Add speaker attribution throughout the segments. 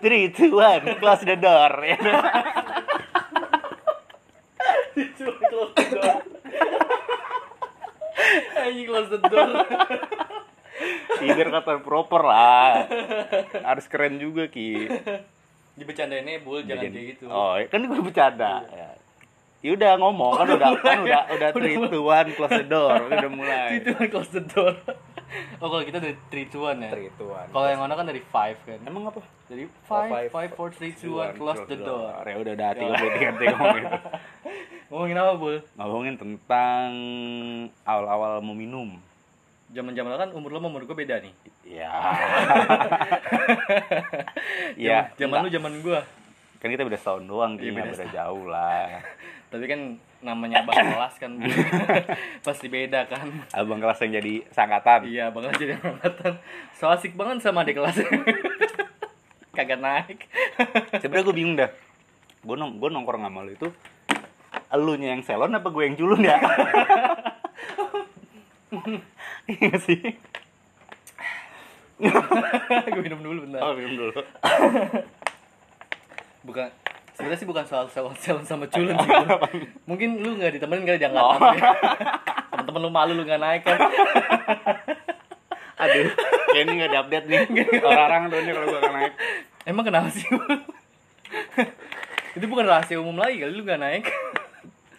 Speaker 1: Three, two, one, close the door. Ya.
Speaker 2: Cuma close the door. Anjing close the door.
Speaker 1: Tidur kata proper lah. Harus keren juga ki.
Speaker 2: Dibecandainnya bul jangan
Speaker 1: Jadi-
Speaker 2: kayak gitu.
Speaker 1: Oh, kan gue bercanda. Ya. Ya udah ngomong kan udah kan udah udah three, two, one, close the door udah mulai.
Speaker 2: Three, two, one, close the door. eh. Oh kalau kita dari 3 2 1 ya.
Speaker 3: Trituan.
Speaker 2: Kalau yang mana kan dari 5 kan.
Speaker 1: Emang apa?
Speaker 2: Dari 5
Speaker 3: five,
Speaker 2: 5 4 3 2 1 close the door.
Speaker 1: Ya udah udah hati gue diganti ngomong gitu.
Speaker 2: Ngomongin apa, Bul?
Speaker 1: Ngomongin tentang awal-awal meminum.
Speaker 2: Zaman-zaman kan umur lo sama umur gue beda nih.
Speaker 1: Ya.
Speaker 2: Iya.
Speaker 1: ya,
Speaker 2: Zaman lu zaman gua.
Speaker 1: kan kita beda setahun doang,
Speaker 2: Iya,
Speaker 1: Ki,
Speaker 2: beda
Speaker 1: nggak beda jauh lah.
Speaker 2: Tapi kan namanya abang kelas kan Bul. pasti beda kan.
Speaker 1: Abang kelas yang jadi sangkatan.
Speaker 2: Iya, bakal jadi angkatan. So asik banget sama adik kelas. Kagak naik.
Speaker 1: Sebenernya gue bingung dah. Gue nong gua nongkrong sama lu itu elunya yang selon apa gue yang culun ya? Iya nggak sih.
Speaker 2: gue minum dulu bentar.
Speaker 1: Oh, minum dulu.
Speaker 2: Bukan sebenarnya sih bukan soal salon salon sama culun sih. Bul. Mungkin lu nggak ditemenin kali diangkat.
Speaker 1: Oh.
Speaker 2: Temen-temen lu malu lu nggak naik kan.
Speaker 1: Aduh, kayak ini nggak ada update nih. Orang-orang tuh ini kalau gue akan naik.
Speaker 2: Emang kenapa sih? Bul? Itu bukan rahasia umum lagi kali lu nggak naik.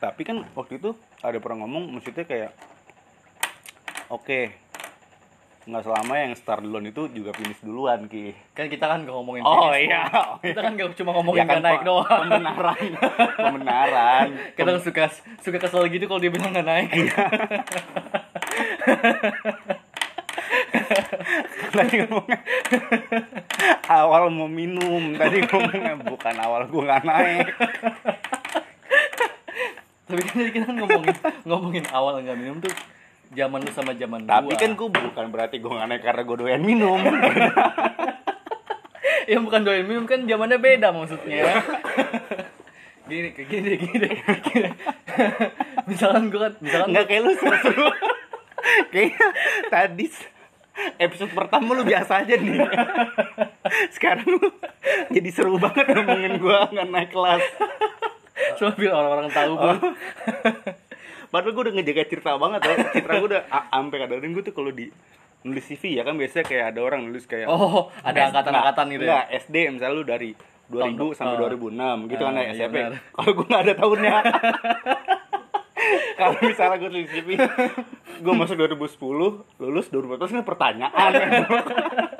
Speaker 1: Tapi kan waktu itu ada pernah ngomong, maksudnya kayak, oke, nggak selama yang start duluan itu juga finish duluan ki.
Speaker 2: Kan kita kan gak ngomongin
Speaker 1: Oh,
Speaker 2: finish,
Speaker 1: iya.
Speaker 2: Bul. Kita kan gak cuma ngomongin
Speaker 1: Ya kan,
Speaker 2: nggak naik
Speaker 1: pe-
Speaker 2: doang.
Speaker 1: Pembenaran, pembenaran.
Speaker 2: Kita suka suka kesel gitu kalau dia bilang nggak naik.
Speaker 1: Iya. tadi ngomongnya awal mau minum tadi ngomongnya bukan awal gue nggak naik
Speaker 2: Tapi kan tadi kita ngomongin ngomongin awal nggak minum tuh zaman lu sama zaman
Speaker 1: tapi
Speaker 2: gua.
Speaker 1: kan gue bukan berarti gue nggak naik karena gue doyan minum
Speaker 2: ya bukan doain minum kan zamannya beda maksudnya. gini kayak gini deh, gini, deh, gini deh. misalkan gua kan misalkan
Speaker 1: nggak kayak lu seru kayaknya tadi s- episode pertama lu biasa aja nih sekarang lu jadi seru banget ngomongin gue nggak naik kelas
Speaker 2: cuma biar orang-orang tahu
Speaker 1: Oh,
Speaker 2: Bul.
Speaker 1: Padahal gue udah ngejaga cerita banget tau Cerita gue udah a- ampe kadang gue tuh kalau di nulis CV ya kan biasanya kayak ada orang nulis kayak
Speaker 2: Oh, ada angkatan-angkatan gitu
Speaker 1: Enggak,
Speaker 2: ya.
Speaker 1: SD misalnya lu dari 2000 sampai
Speaker 2: oh.
Speaker 1: 2006 gitu kan ya
Speaker 2: Ah, iya
Speaker 1: SMP.
Speaker 2: benar.
Speaker 1: Kalau gue nggak ada tahunnya. Kalau misalnya gue tulis CV, gue masuk 2010, lulus 2014 kan pertanyaan.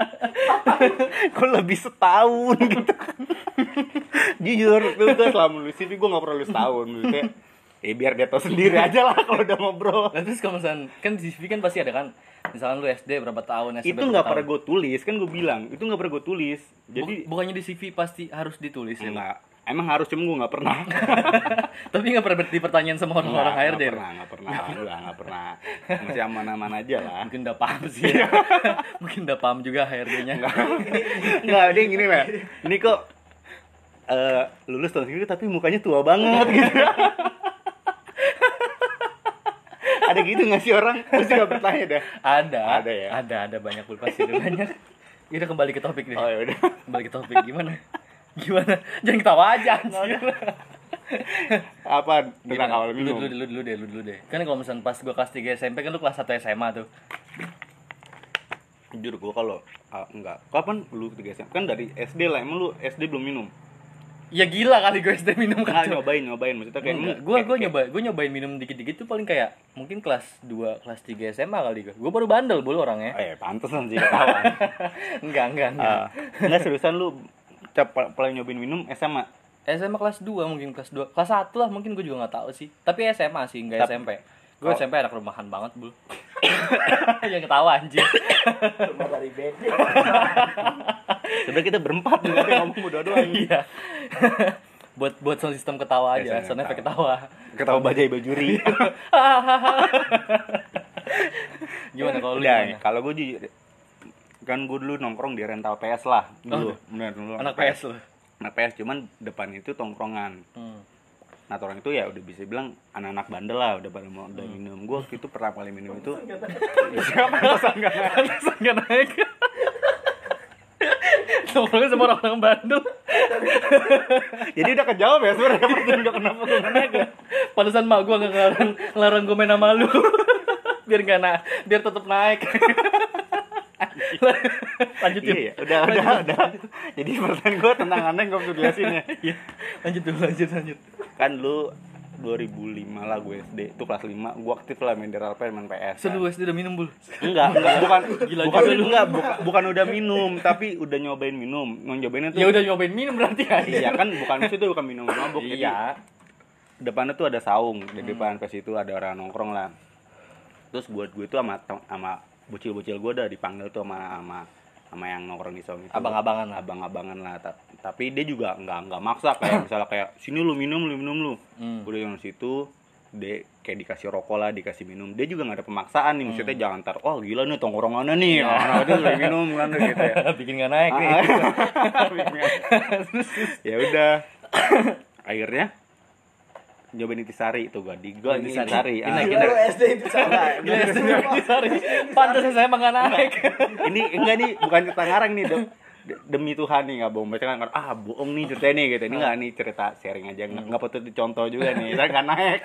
Speaker 1: Kok lebih setahun gitu kan. Jujur, tuh gue selama nulis CV gue nggak pernah nulis tahun gitu ya. Eh biar dia tahu sendiri aja lah kalau udah ngobrol.
Speaker 2: Nah, terus kalau misalkan kan di CV kan pasti ada kan. Misalkan lu SD berapa tahun, SMP
Speaker 1: Itu
Speaker 2: berapa
Speaker 1: nggak
Speaker 2: tahun.
Speaker 1: pernah gue tulis, kan gue bilang itu nggak pernah gue tulis. Jadi Iya.
Speaker 2: Buk- bukannya di CV pasti harus ditulis ya.
Speaker 1: Enggak. Emang harus cuma gue nggak pernah.
Speaker 2: Tapi nggak pernah dipertanyain sama orang-orang
Speaker 1: Nggak,
Speaker 2: HRD.
Speaker 1: nggak pernah, nggak pernah, enggak, nggak pernah. Masih aman-aman aja lah.
Speaker 2: Mungkin udah paham sih.
Speaker 1: Iya.
Speaker 2: ya. Mungkin udah paham juga HRD-nya.
Speaker 1: Enggak, dia gini lah. Ini kok eh, lulus tahun segini tapi mukanya tua banget gitu. Ada gitu nggak sih orang? Terus juga bertanya dah.
Speaker 2: Ada.
Speaker 1: Ada ya?
Speaker 2: Ada, ada banyak pulpas ada banyak. Kita kembali ke topik deh.
Speaker 1: Oh ya udah.
Speaker 2: Kembali ke topik gimana? Gimana? Jangan ketawa aja anjir.
Speaker 1: Apa tentang awal
Speaker 2: Lu
Speaker 1: minum?
Speaker 2: dulu, dulu, dulu deh, lu dulu deh. Kan kalau misalnya pas gua kelas 3 SMP kan lu kelas 1 SMA tuh.
Speaker 1: Jujur gue kalau ah, enggak. Kapan lu tiga SMP? Kan dari SD lah. Emang lu SD belum minum?
Speaker 2: Ya gila kali gue SD minum
Speaker 1: Enggak
Speaker 2: kacau.
Speaker 1: nyobain, nyobain. Maksudnya kayak
Speaker 2: Enggak,
Speaker 1: emang-
Speaker 2: gua
Speaker 1: kayak-
Speaker 2: gua
Speaker 1: kayak-
Speaker 2: nyoba gua nyobain minum dikit-dikit tuh paling kayak mungkin kelas 2, kelas 3 SMA kali gua. Gua baru bandel bulu orangnya.
Speaker 1: Eh, pantesan sih ketawa.
Speaker 2: enggak, enggak, enggak.
Speaker 1: Ah, Enggak seriusan lu cepat paling nyobain minum SMA.
Speaker 2: SMA kelas 2 mungkin kelas 2 kelas 1 lah mungkin gue juga nggak tahu sih tapi SMA sih nggak
Speaker 1: Tapi-
Speaker 2: SMP gue
Speaker 1: Oh.
Speaker 2: SMP anak rumahan banget bul yang ketawa anjing
Speaker 3: Cuma dari beda.
Speaker 1: Sebenarnya kita berempat juga ada yang ngomong berdua doang.
Speaker 2: iya buat buat sound system ketawa
Speaker 1: Ya,
Speaker 2: aja
Speaker 1: saya
Speaker 2: sound efek
Speaker 1: ketawa.
Speaker 2: ketawa
Speaker 1: Ketawa bajai bajuri.
Speaker 2: Iya. gimana kalau lu
Speaker 1: Udah,
Speaker 2: gimana?
Speaker 1: kalau gue jujur kan gue dulu nongkrong di rental PS lah dulu.
Speaker 2: Oh.
Speaker 1: Bener, dulu
Speaker 2: anak PS lu
Speaker 1: Anak PS cuman depan itu tongkrongan.
Speaker 2: hmm.
Speaker 1: Nah, orang itu ya udah bisa bilang anak-anak bandel lah udah pada mau
Speaker 2: Hmm.
Speaker 1: udah minum. Gue waktu itu pertama kali minum itu siapa yang pesan nggak?
Speaker 2: Pantesan nggak naik ngobrolnya sama orang-orang Bandung
Speaker 1: Jadi udah kejawab ya sebenarnya pertanyaan gua kenapa gue naga.
Speaker 2: Pantesan mak gue gak ngelarang, ngelarang gue main sama lu Biar gak na biar tetap naik Gitu. Lanjut yuk
Speaker 1: Iya, udah, udah, udah. Jadi pertanyaan gue tentang anak gue perlu jelasin ya.
Speaker 2: Iya. Lanjut dulu, lanjut, lanjut
Speaker 1: Kan lu 2005 lah gue SD, itu kelas 5, gue aktif lah main DRP, main PS. kan.
Speaker 2: Seru SD udah minum bul
Speaker 1: Enggak, enggak, bukan,
Speaker 2: Gila
Speaker 1: bukan,
Speaker 2: juga lu.
Speaker 1: enggak, buka- bukan udah minum, tapi udah nyobain minum. Nyobainnya tuh,
Speaker 2: Ya udah nyobain minum berarti ya
Speaker 1: iya kan, bukan itu bukan minum mabuk. ya kan? jadi
Speaker 2: Iya
Speaker 1: depannya tuh ada saung
Speaker 2: Hmm.
Speaker 1: di depan pas itu ada orang nongkrong lah terus buat gue tuh sama sama bocil-bocil gue udah dipanggil tuh sama sama sama yang nongkrong di saung itu
Speaker 2: Abang-abangan lah.
Speaker 1: abang-abangan lah Ta- tapi dia juga nggak nggak maksa kayak misalnya kayak sini lu minum lu minum lu
Speaker 2: Hmm.
Speaker 1: udah yang situ dia kayak dikasih rokok lah dikasih minum dia juga nggak ada pemaksaan nih maksudnya
Speaker 2: Hmm.
Speaker 1: jangan ntar oh gila nih tongkrongannya nih
Speaker 2: Nah.
Speaker 1: anak itu lagi minum kan gitu ya
Speaker 2: Bikin gak naik nih
Speaker 1: Iya. ya udah akhirnya nyobain intisari tuh gua di gua intisari
Speaker 2: Intisari. Gila,
Speaker 1: Ah,
Speaker 3: Gila lu SD itu sama.
Speaker 2: Gila SD sorry Pantesan saya emang gak naik
Speaker 1: ini enggak nih bukan cerita ngarang nih Dok. De- demi Tuhan nih nggak bohong baca kan ah bohong nih cerita nih gitu ini nggak nih cerita sharing aja nggak nggak patut dicontoh juga nih saya nggak naik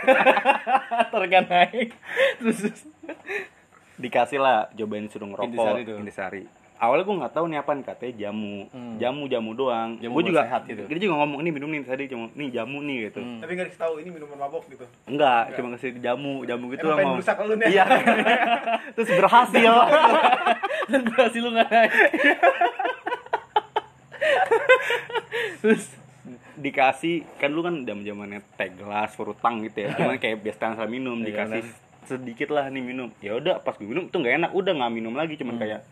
Speaker 2: Ntar gak naik Terus terus.
Speaker 1: dikasih lah cobain suruh ngerokok
Speaker 2: Intisari
Speaker 1: intisari,
Speaker 2: tuh.
Speaker 1: awalnya gue nggak tahu nih apa nih katanya jamu
Speaker 2: Hmm.
Speaker 1: jamu jamu doang
Speaker 2: Jamu
Speaker 1: gue
Speaker 2: buat
Speaker 1: juga
Speaker 2: sehat gitu.
Speaker 1: dia juga ngomong ini minum nih tadi jamu nih jamu nih gitu
Speaker 2: Hmm.
Speaker 3: Tapi gak dikasih tahu ini minuman mabok gitu.
Speaker 1: enggak cuma kasih jamu jamu gitu
Speaker 3: Emang pengen
Speaker 1: ngomong.
Speaker 3: rusak lu nih.
Speaker 1: iya terus berhasil
Speaker 2: Dan berhasil lu gak naik Terus
Speaker 1: dikasih kan lu kan jam zamannya teh gelas perutang gitu ya cuman kayak biasa sama minum
Speaker 2: Iya,
Speaker 1: dikasih sedikit lah nih minum ya udah pas gue minum tuh nggak enak udah nggak minum lagi cuman kayak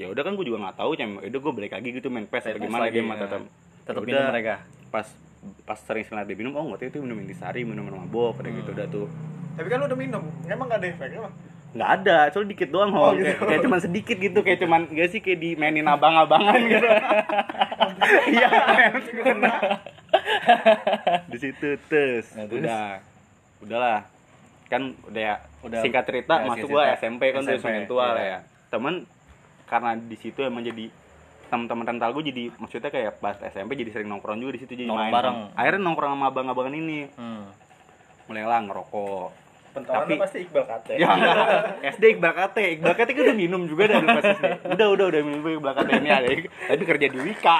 Speaker 1: ya udah kan gue juga nggak tahu cuman udah gue balik lagi gitu main pes
Speaker 2: Main pes
Speaker 1: bagaimana
Speaker 2: lagi,
Speaker 1: dia mata
Speaker 2: ya.
Speaker 1: tetap
Speaker 2: Tetap
Speaker 1: Ya
Speaker 2: minum
Speaker 1: udah,
Speaker 2: mereka.
Speaker 1: pas pas sering sekali dia minum oh nggak tahu itu minum intisari minum minum mabok pada gitu udah tuh
Speaker 3: Tapi kan lu udah minum. Emang gak ada efeknya mah.
Speaker 1: nggak ada soalnya dikit doang oh,
Speaker 3: Oh, gitu.
Speaker 1: kayak, kayak cuman sedikit gitu kayak cuman gak sih kayak dimainin abang-abangan gitu iya men, gua kena. di situ tes
Speaker 2: Nah, terus?
Speaker 1: udah udahlah kan udah, ya,
Speaker 2: Udah.
Speaker 1: singkat cerita
Speaker 2: Ya,
Speaker 1: masuk gua
Speaker 2: singkat cerita.
Speaker 1: SMP kan udah
Speaker 2: SMP,
Speaker 1: semakin tua lah ya
Speaker 2: iya.
Speaker 1: temen karena di situ emang jadi teman-teman rental gue jadi maksudnya kayak pas SMP jadi sering nongkrong juga di situ jadi
Speaker 2: Nongkrong
Speaker 1: main
Speaker 2: bareng.
Speaker 1: akhirnya nongkrong sama abang-abangan ini
Speaker 2: hmm.
Speaker 1: mulailah ngerokok
Speaker 3: Bentar
Speaker 1: Tapi-
Speaker 3: pasti Iqbal kate.
Speaker 1: Ya, SD Iqbal Kate. Iqbal Kate kan udah minum juga dari pas SD. Udah, udah, udah minum Iqbal Kate ini ada. Tapi kerja di Wika.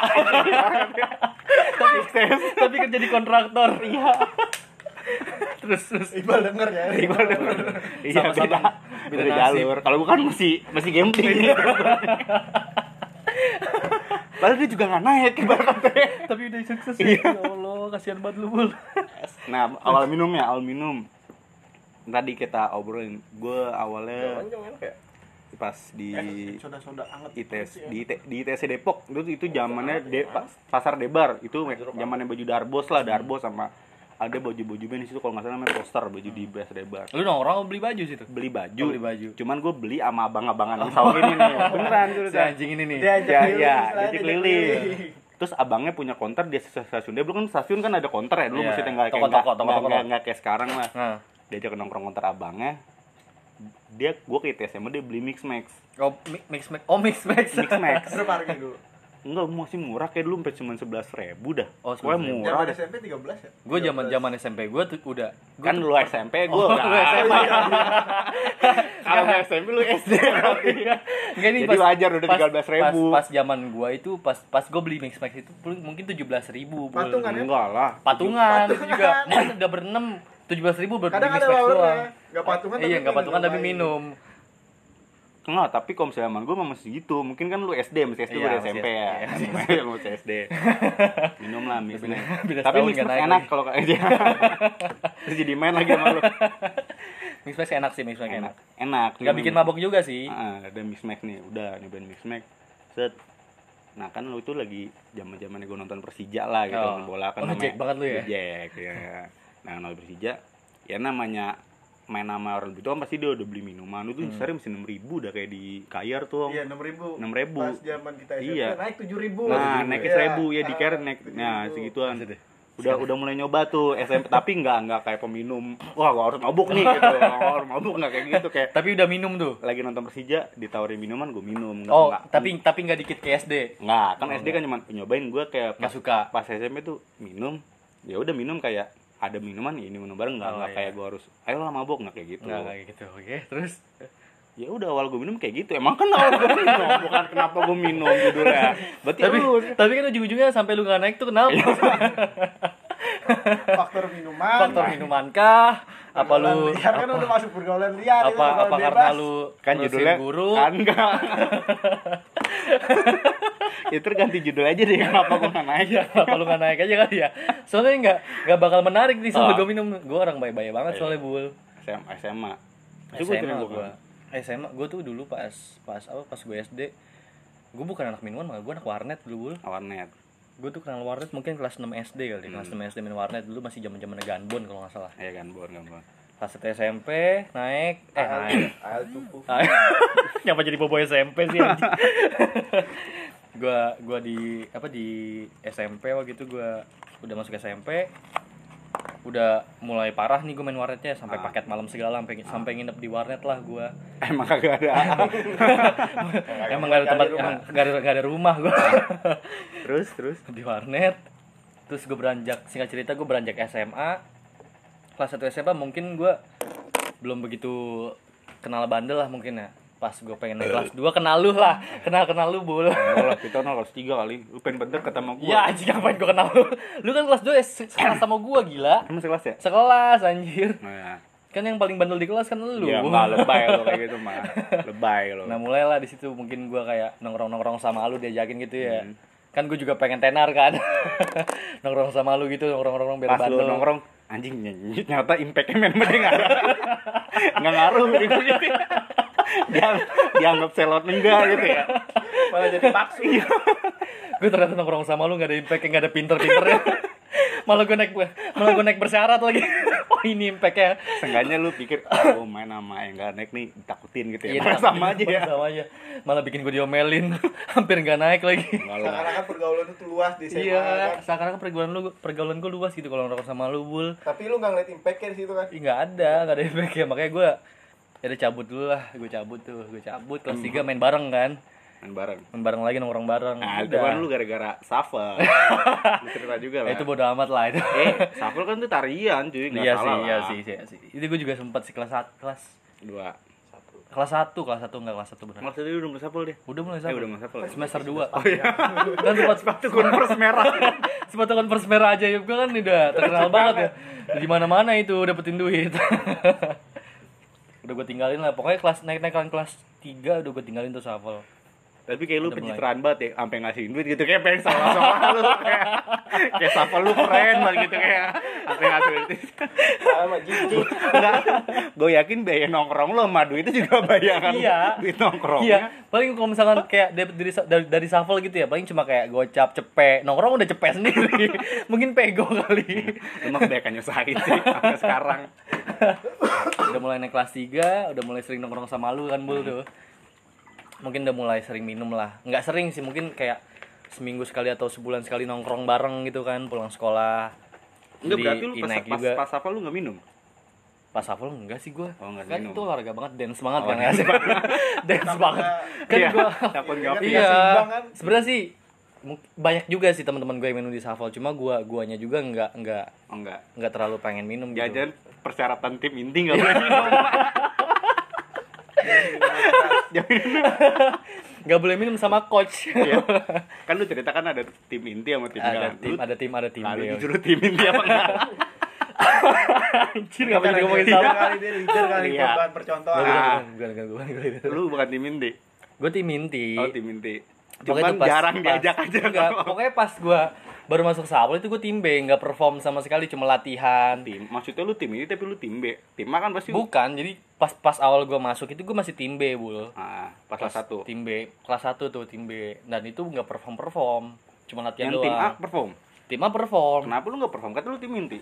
Speaker 2: tapi tapi kerja di kontraktor iya terus terus
Speaker 3: Iqbal denger ya.
Speaker 1: Iqbal denger. Iya,
Speaker 2: Sama-sama.
Speaker 1: beda.
Speaker 2: Beda
Speaker 1: Beda
Speaker 2: nasib.
Speaker 1: jalur. Kalau bukan masih masih gambling. Padahal dia juga gak naik Iqbal Kate.
Speaker 2: tapi udah sukses ya ya allah kasihan banget lu bul
Speaker 1: Nah, awal minum ya, awal minum. Tadi kita obrolin, gue awalnya
Speaker 3: Jangan enak ya.
Speaker 1: pas di
Speaker 3: Eh, soda-soda anget.
Speaker 1: ITS di IT di ITS Depok itu itu zamannya de, pa- pasar Debar itu me- zamannya baju Darbos lah Darbos sama ada baju-baju band di situ kalau nggak salah namanya poster baju di ITS Debar
Speaker 2: lu nongkrong apa beli baju situ
Speaker 1: beli baju,
Speaker 2: Oh, beli baju.
Speaker 1: cuman gue beli sama abang-abangan yang saung ini nih beneran tuh
Speaker 2: si anjing ini nih
Speaker 3: Dia ajak
Speaker 1: ya ya
Speaker 3: keliling, istilahnya
Speaker 1: jadi
Speaker 3: diajak
Speaker 1: keliling
Speaker 3: keliling.
Speaker 1: terus abangnya punya konter di stasiun Depok kan stasiun kan ada konter ya dulu
Speaker 2: Iya.
Speaker 1: mesti tinggal kayak
Speaker 2: Toko-toko,
Speaker 1: nggak-
Speaker 2: toko-toko.
Speaker 1: nggak- nggak kayak sekarang lah
Speaker 2: nah
Speaker 1: diajak nongkrong konter abangnya dia gue ke ITS sama dia beli mix max
Speaker 2: oh mi- mix max oh mix max
Speaker 1: mix max
Speaker 3: Berapa harga dulu?
Speaker 1: Enggak, masih murah kayak dulu sampai cuma sebelas ribu dah.
Speaker 2: Oh,
Speaker 1: Pokoknya
Speaker 2: 11.000.
Speaker 1: murah
Speaker 3: Zaman
Speaker 1: dah.
Speaker 3: SMP 13 ya?
Speaker 2: gue zaman zaman SMP gue tuh udah gua
Speaker 1: Kan
Speaker 2: tuh-
Speaker 1: lu SMP, gue
Speaker 2: Oh,
Speaker 1: enggak.
Speaker 2: lu SMA.
Speaker 1: Kalau nggak SMP lu SD. Iya.
Speaker 2: Enggak nih
Speaker 1: Jadi wajar udah 13.000.
Speaker 2: Pas, pas zaman gua itu pas pas gua beli mix max itu pul- mungkin 17.000 Bul.
Speaker 3: Patungan ya?
Speaker 1: Enggak lah.
Speaker 2: Patungan itu
Speaker 3: Patungan.
Speaker 2: juga mana udah berenam 17.000 buat beli
Speaker 3: Kadang
Speaker 2: mix
Speaker 3: ada
Speaker 2: max
Speaker 3: lawernya.
Speaker 2: doang.
Speaker 3: Nggak patungan
Speaker 2: Iya,
Speaker 3: tapi
Speaker 2: enggak
Speaker 3: minum,
Speaker 2: patungan tapi
Speaker 3: nambahin.
Speaker 2: minum.
Speaker 1: Enggak, tapi kalau misalnya emang gue masih gitu. Mungkin kan lu SD, masih SD
Speaker 2: Iya,
Speaker 1: gue udah
Speaker 2: masih
Speaker 1: SMP
Speaker 2: SD.
Speaker 1: ya.
Speaker 2: Iya,
Speaker 1: Iya, masih SD. Minum lah mix
Speaker 2: Beda-
Speaker 1: Max.
Speaker 2: beda
Speaker 1: Tapi
Speaker 2: setahun
Speaker 1: mix
Speaker 2: nggak
Speaker 1: Max
Speaker 2: naik
Speaker 1: enak
Speaker 2: lagi.
Speaker 1: kalau kayak dia. Terus jadi main lagi sama lu.
Speaker 2: Mix max enak sih, mix max enak.
Speaker 1: Enak. Enak.
Speaker 2: Gak bikin mabok juga sih.
Speaker 1: Ah, ada mix max nih, udah nyobain mix max. Set. Nah kan lu itu lagi zaman zamannya gue nonton Persija lah gitu,
Speaker 2: Oh.
Speaker 1: nonton bola kan
Speaker 2: Oh, ngejek banget lu ya?
Speaker 1: Ngejek, ya. Nah nonton Persija, ya namanya main nama orang itu kan pasti dia udah beli minuman itu
Speaker 2: Hmm.
Speaker 1: sehari masih enam ribu udah kayak di kayar tuh
Speaker 3: Iya, 6000.
Speaker 1: 6.000.
Speaker 3: Pas zaman kita SMP
Speaker 1: Iya.
Speaker 3: naik 7000.
Speaker 1: nah naik
Speaker 3: Iya.
Speaker 1: seribu ya di
Speaker 3: Ah,
Speaker 1: kayar naik
Speaker 2: Iya.
Speaker 3: 7.000.
Speaker 1: nah segituan
Speaker 2: Maksudnya?
Speaker 1: udah udah mulai nyoba tuh SMP tapi nggak nggak kayak peminum wah gua harus mabuk nih gitu Gua harus mabuk nggak kayak gitu kayak
Speaker 2: Tapi udah minum tuh.
Speaker 1: lagi nonton Persija ditawarin minuman gue minum Nggak-
Speaker 2: Oh,
Speaker 1: nggak-
Speaker 2: tapi tapi nggak dikit ke SD.
Speaker 1: nggak kan SD kan cuma nyobain gue kayak
Speaker 2: Nggak
Speaker 1: pas,
Speaker 2: suka.
Speaker 1: pas SMP tuh minum ya udah minum kayak ada minuman ya ini minum bareng nggak
Speaker 2: Oh,
Speaker 1: nggak
Speaker 2: iya.
Speaker 1: kayak gue harus ayo lah mabok nggak kayak gitu
Speaker 2: Nggak kayak gitu. Oke, terus
Speaker 1: ya udah awal gue minum kayak gitu emang kan awal gue minum bukan kenapa gue minum judulnya berarti
Speaker 2: tapi
Speaker 1: lu
Speaker 2: tapi kan ujung-ujungnya sampai lu nggak naik tuh kenapa?
Speaker 1: Iya, kan.
Speaker 3: faktor minuman
Speaker 2: Faktor minuman kah? Apa lu
Speaker 3: liar kan Iya, udah masuk pergaulan liar itu,
Speaker 2: apa
Speaker 3: pergaulan
Speaker 2: apa karena
Speaker 3: bebas.
Speaker 2: lu
Speaker 1: kan
Speaker 2: ngurusin
Speaker 1: judulnya
Speaker 2: guru?
Speaker 1: kan enggak ya terus ganti judul aja deh kenapa gue nggak naik
Speaker 2: Iya, apa lu nggak naik aja kali ya? Soalnya nggak nggak bakal menarik nih sampai
Speaker 1: Ah.
Speaker 2: gue minum. Gue orang baik-baik banget
Speaker 1: Iya.
Speaker 2: soalnya bul.
Speaker 1: SMA SMA Itu gua
Speaker 2: SMA
Speaker 1: kira gua
Speaker 2: gue. SMA gue tuh dulu pas pas apa pas gue SD gue bukan anak minuman malah gue anak warnet dulu bul
Speaker 1: kan warnet
Speaker 2: gue tuh kenal warnet mungkin kelas 6 SD kali ya.
Speaker 1: Hmm.
Speaker 2: kelas 6 SD main warnet dulu masih zaman zaman ganbon kalau nggak salah
Speaker 1: ya kan bor bor
Speaker 2: kelas 1 SMP naik eh
Speaker 1: Ah.
Speaker 3: Al-
Speaker 2: naik
Speaker 3: al cukup
Speaker 2: Kenapa jadi bobo SMP sih anjing? gua gua di apa di SMP waktu itu gua udah masuk SMP udah mulai parah nih gue main warnetnya sampai
Speaker 1: Ah.
Speaker 2: paket malam segala sampai sampai nginep di warnet lah gua
Speaker 1: emang kagak ada
Speaker 2: emang gak ada tempat emang gak ada gak ada rumah gua
Speaker 1: terus terus
Speaker 2: di warnet terus gue beranjak singkat cerita gue beranjak SMA kelas 1 SMA mungkin gua belum begitu kenal bandel lah mungkin ya pas gue pengen naik kelas 2 kenal lu lah kenal kenal lu bul
Speaker 1: Nolak, kita nolak tiga kali lu pengen bener ketemu gue
Speaker 2: ya anjing ngapain gue kenal lu lu kan kelas 2 se- sekelas sama gue gila
Speaker 1: emang sekelas ya
Speaker 2: sekelas anjir
Speaker 1: Nah, ya.
Speaker 2: kan yang paling bandel di kelas kan lu
Speaker 1: Ya, enggak lebay lo kayak gitu mah. Lebay lo.
Speaker 2: Nah mulailah di situ mungkin gua kayak nongkrong nongkrong sama lu diajakin gitu ya. Kan gue juga pengen tenar kan. nongkrong sama lu gitu nongkrong nongkrong biar
Speaker 1: Pas lo
Speaker 2: bandel.
Speaker 1: nongkrong anjing nyanyi nyata impact-nya main gede enggak ada. Enggak ngaruh gitu. gitu. Dia dianggap selot enggak gitu ya. Iya.
Speaker 3: malah jadi paksu
Speaker 2: Gue ternyata nongkrong sama lu gak ada impact gak ada pinter pinternya. malah gue naik malah gue naik bersyarat lagi. oh ini impact ya.
Speaker 1: Seenggaknya lu pikir ah, oh main sama yang enggak naik nih ditakutin gitu ya. Padahal sama aja ya.
Speaker 2: Iya, Sama aja. Malah bikin gue diomelin. Hampir gak naik lagi.
Speaker 1: Enggak lah.
Speaker 3: sekarang kan pergaulan itu luas di SMA
Speaker 2: Iya,
Speaker 3: kan
Speaker 2: sekarang pergaulan lu pergaulan gue luas gitu kalau nongkrong sama lu bul.
Speaker 3: tapi lu nggak ngeliat impactnya di situ kan
Speaker 2: Ih, nggak ada, nggak ada impact ya makanya gue ya udah cabut dulu lah, gue cabut tuh, gue cabut kelas 3 main bareng kan,
Speaker 1: Main bareng.
Speaker 2: main bareng lagi nongkrong bareng,
Speaker 1: Nah, itu
Speaker 2: Oh, udah,
Speaker 1: kan lu gara-gara Shuffle. Lu cerita juga lah.
Speaker 2: Ya, itu bodo amat lah itu,
Speaker 1: Eh, Shuffle kan tuh tarian cuy, enggak
Speaker 2: iya sih,
Speaker 1: salah
Speaker 2: iya
Speaker 1: lah.
Speaker 2: sih, iya sih, itu gue juga sempat sih kelas sat- kelas
Speaker 1: Dua.
Speaker 2: kelas satu, kelas satu nggak kelas satu benar,
Speaker 1: Maksudnya lu udah mulai Shuffle deh.
Speaker 2: udah mulai
Speaker 1: Eh,
Speaker 2: satu,
Speaker 1: udah mulai Shuffle. ya?
Speaker 2: semester 2
Speaker 1: Oh iya.
Speaker 2: kan sempat
Speaker 1: Sepatu Converse merah.
Speaker 2: sepatu converse merah aja ya gue kan udah terkenal banget ya, di mana mana itu dapetin duit, udah gue tinggalin lah, pokoknya kelas naik naikan kelas 3 udah gue tinggalin tuh shuffle
Speaker 1: Tapi kayak lu
Speaker 2: Udah
Speaker 1: pencitraan banget ya, sampai ngasihin duit gitu kayak pengen salah salah lu kayak kayak siapa lu keren banget gitu kayak sampai ngasihin duit.
Speaker 3: sama gitu
Speaker 1: Enggak, gue yakin biaya nongkrong lu sama duitnya juga bayangan
Speaker 2: Iya.
Speaker 1: duit nongkrong.
Speaker 2: Iya, paling kalau misalkan kayak debit dari dari, dari shuffle gitu ya, paling cuma kayak gocap, cepe, nongkrong udah cepe sendiri. Mungkin pego kali.
Speaker 1: Emang kebanyakan nyusahin sih sampai sekarang.
Speaker 2: udah mulai naik kelas 3, udah mulai sering nongkrong sama lu kan, Bul tuh. Mungkin udah mulai sering minum lah. Nggak sering sih, mungkin kayak seminggu sekali atau sebulan sekali nongkrong bareng gitu kan, pulang sekolah.
Speaker 1: Enggak
Speaker 2: Di
Speaker 1: berarti lu pas
Speaker 2: Inaik
Speaker 1: pas,
Speaker 2: juga.
Speaker 1: pas apa lu enggak minum?
Speaker 2: Pas shuffle enggak sih gua.
Speaker 1: Oh, nggak
Speaker 2: kan
Speaker 1: minum. Oh,
Speaker 2: itu olahraga banget, dance banget kan ya. dance banget. Kan
Speaker 1: Iya,
Speaker 2: gua
Speaker 1: takut enggak
Speaker 3: Tapi
Speaker 2: iya
Speaker 3: nggak seimbang kan?
Speaker 2: sebenarnya sih mu- banyak juga sih teman-teman gue yang minum di shuffle cuma gua guanya juga nggak nggak
Speaker 1: Oh enggak.
Speaker 2: nggak terlalu pengen minum gitu.
Speaker 1: Jajan persyaratan tim inti
Speaker 2: Iya.
Speaker 1: enggak boleh minum.
Speaker 2: nggak boleh minum sama coach
Speaker 1: Iya. Kan lu cerita kan ada tim inti sama tim
Speaker 2: ada
Speaker 1: enggak.
Speaker 2: tim
Speaker 1: Lu-
Speaker 2: ada tim ada tim iya.
Speaker 1: Lalu
Speaker 2: Deo.
Speaker 1: disuruh tim inti apa enggak?
Speaker 2: anjir nggak jadi ngomongin
Speaker 3: Leader
Speaker 2: sama
Speaker 3: Iya, kali dia leader kali
Speaker 1: Iya.
Speaker 3: buat bahan percontohan
Speaker 1: Nah.
Speaker 2: bukan bukan bukan bukan
Speaker 1: Iya. Lu bukan tim inti.
Speaker 2: gue tim inti
Speaker 1: Oh tim inti.
Speaker 2: Pokoknya
Speaker 1: Cuman
Speaker 2: tuh pas-
Speaker 1: jarang
Speaker 2: pas-
Speaker 1: diajak aja
Speaker 2: enggak,
Speaker 1: kalau-
Speaker 2: pokoknya pas gua baru masuk shuffle itu gue tim B nggak perform sama sekali cuma latihan
Speaker 1: tim maksudnya lu tim ini tapi lu tim B tim A kan pasti
Speaker 2: bukan jadi pas pas awal gua masuk itu gue masih tim B bul
Speaker 1: ah pas kelas satu
Speaker 2: tim B kelas 1 tuh tim B dan itu nggak perform perform cuma latihan
Speaker 1: yang
Speaker 2: doang
Speaker 1: tim A perform
Speaker 2: tim A perform
Speaker 1: kenapa lu nggak perform kata lu tim inti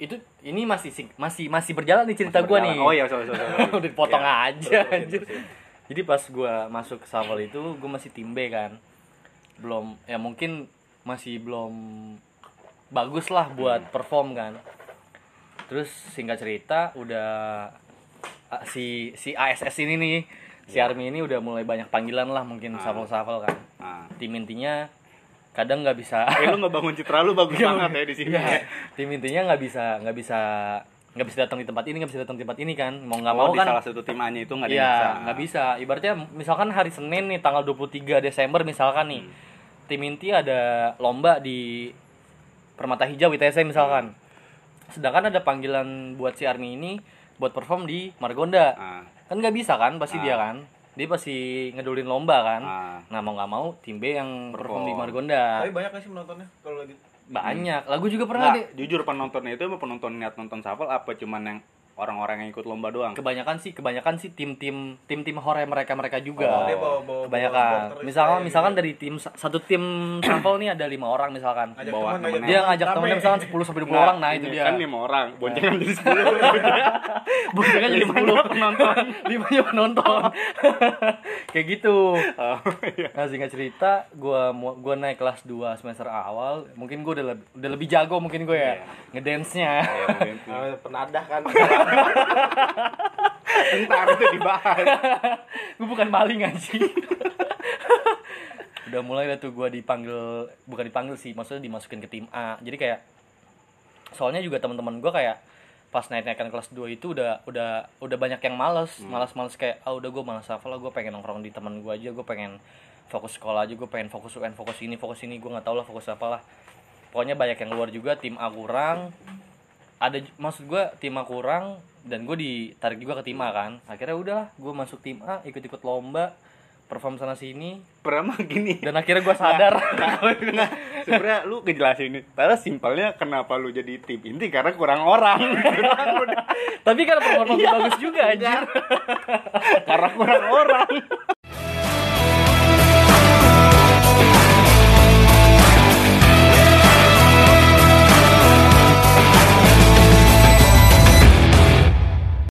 Speaker 2: itu ini masih sing- masih masih berjalan nih cerita gua nih
Speaker 1: Berjalan. oh iya sorry sorry, sorry.
Speaker 2: udah dipotong
Speaker 1: Iya.
Speaker 2: aja anjir. jadi pas gua masuk ke Shuffle itu gua masih tim B kan belum ya mungkin masih belum bagus lah buat perform kan terus singkat cerita udah ah, si si ASS ini nih si Army ini udah mulai banyak panggilan lah mungkin shuffle-shuffle kan
Speaker 1: Ah.
Speaker 2: tim intinya kadang nggak bisa
Speaker 1: Eh, lu ngebangun citra lu bagus banget ya di sini.
Speaker 2: Iya. tim intinya nggak bisa nggak bisa nggak bisa datang di tempat ini nggak bisa datang di tempat ini kan mau nggak mau
Speaker 1: Mau di
Speaker 2: kan
Speaker 1: salah satu timannya itu nggak ada yang
Speaker 2: Iya, nggak bisa. Ibaratnya misalkan hari Senin nih tanggal 23 Desember misalkan
Speaker 1: Hmm.
Speaker 2: nih. Tim inti ada lomba di Permata Hijau ITS misalkan. Sedangkan ada panggilan buat si Army ini buat perform di Margonda.
Speaker 1: Ah.
Speaker 2: Kan nggak bisa kan pasti dia kan. Dia pasti ngedulin lomba kan.
Speaker 1: Ah.
Speaker 2: Nah, mau nggak mau tim B yang perform,
Speaker 1: Perform.
Speaker 2: di Margonda.
Speaker 3: Tapi banyak nggak sih penontonnya kalau lagi
Speaker 2: Banyak. Lagu juga pernah
Speaker 1: Nggak,
Speaker 2: deh.
Speaker 1: jujur penontonnya itu emang penonton niat nonton shuffle apa cuman yang orang-orang yang ikut lomba doang?
Speaker 2: Kebanyakan sih, kebanyakan sih tim-tim tim-tim hore mereka-mereka juga.
Speaker 3: Oh, dia bawa- bawa- bawa gitu
Speaker 2: kebanyakan
Speaker 3: supporter
Speaker 2: misalkan
Speaker 3: Israel
Speaker 2: misalkan dari tim satu tim sampel nih ada lima orang misalkan
Speaker 3: ngajak
Speaker 1: Bawa
Speaker 3: teman ngajak
Speaker 1: temennya.
Speaker 2: dia ngajak
Speaker 3: Rame.
Speaker 2: temennya misalkan 10 sampai 20
Speaker 1: Nggak,
Speaker 2: orang nah itu
Speaker 1: ini
Speaker 2: dia
Speaker 1: Kan lima orang, boncengan jadi sepuluh.
Speaker 2: boncengan jadi
Speaker 1: Lima
Speaker 2: 10
Speaker 1: penonton.
Speaker 2: kan lima yang nonton kayak gitu
Speaker 1: Oh, iya.
Speaker 2: nah singkat cerita gua mau- gua naik kelas 2 semester awal mungkin gua udah lebih, udah lebih jago mungkin gua
Speaker 1: Iya.
Speaker 2: ya ngedance nya
Speaker 1: Ya, mungkin.
Speaker 3: Ah, penadah kan.
Speaker 1: Ntar itu dibahas.
Speaker 2: gue bukan maling anjing udah mulai dah tuh gue dipanggil bukan dipanggil sih maksudnya dimasukin ke tim A jadi kayak soalnya juga teman-teman gue kayak pas naik naikan kelas 2 itu udah udah udah banyak yang males malas males kayak ah udah gue malas hafal gue pengen nongkrong di teman gue aja gue pengen fokus sekolah aja gue pengen fokus UN fokus ini fokus ini gue nggak tau lah fokus apalah pokoknya banyak yang luar juga tim A kurang ada ju- maksud gue tim A kurang dan gue ditarik juga ke tim A kan akhirnya udahlah gue masuk tim A ikut-ikut lomba perform sana sini
Speaker 1: Pertama gini.
Speaker 2: dan akhirnya gue sadar
Speaker 1: Nah, sebenarnya lu kejelasin ini. Padahal simpelnya kenapa lu jadi tim inti karena kurang orang. Kurang udah.
Speaker 2: tapi kan performa gue bagus juga anjir
Speaker 1: karena kurang orang.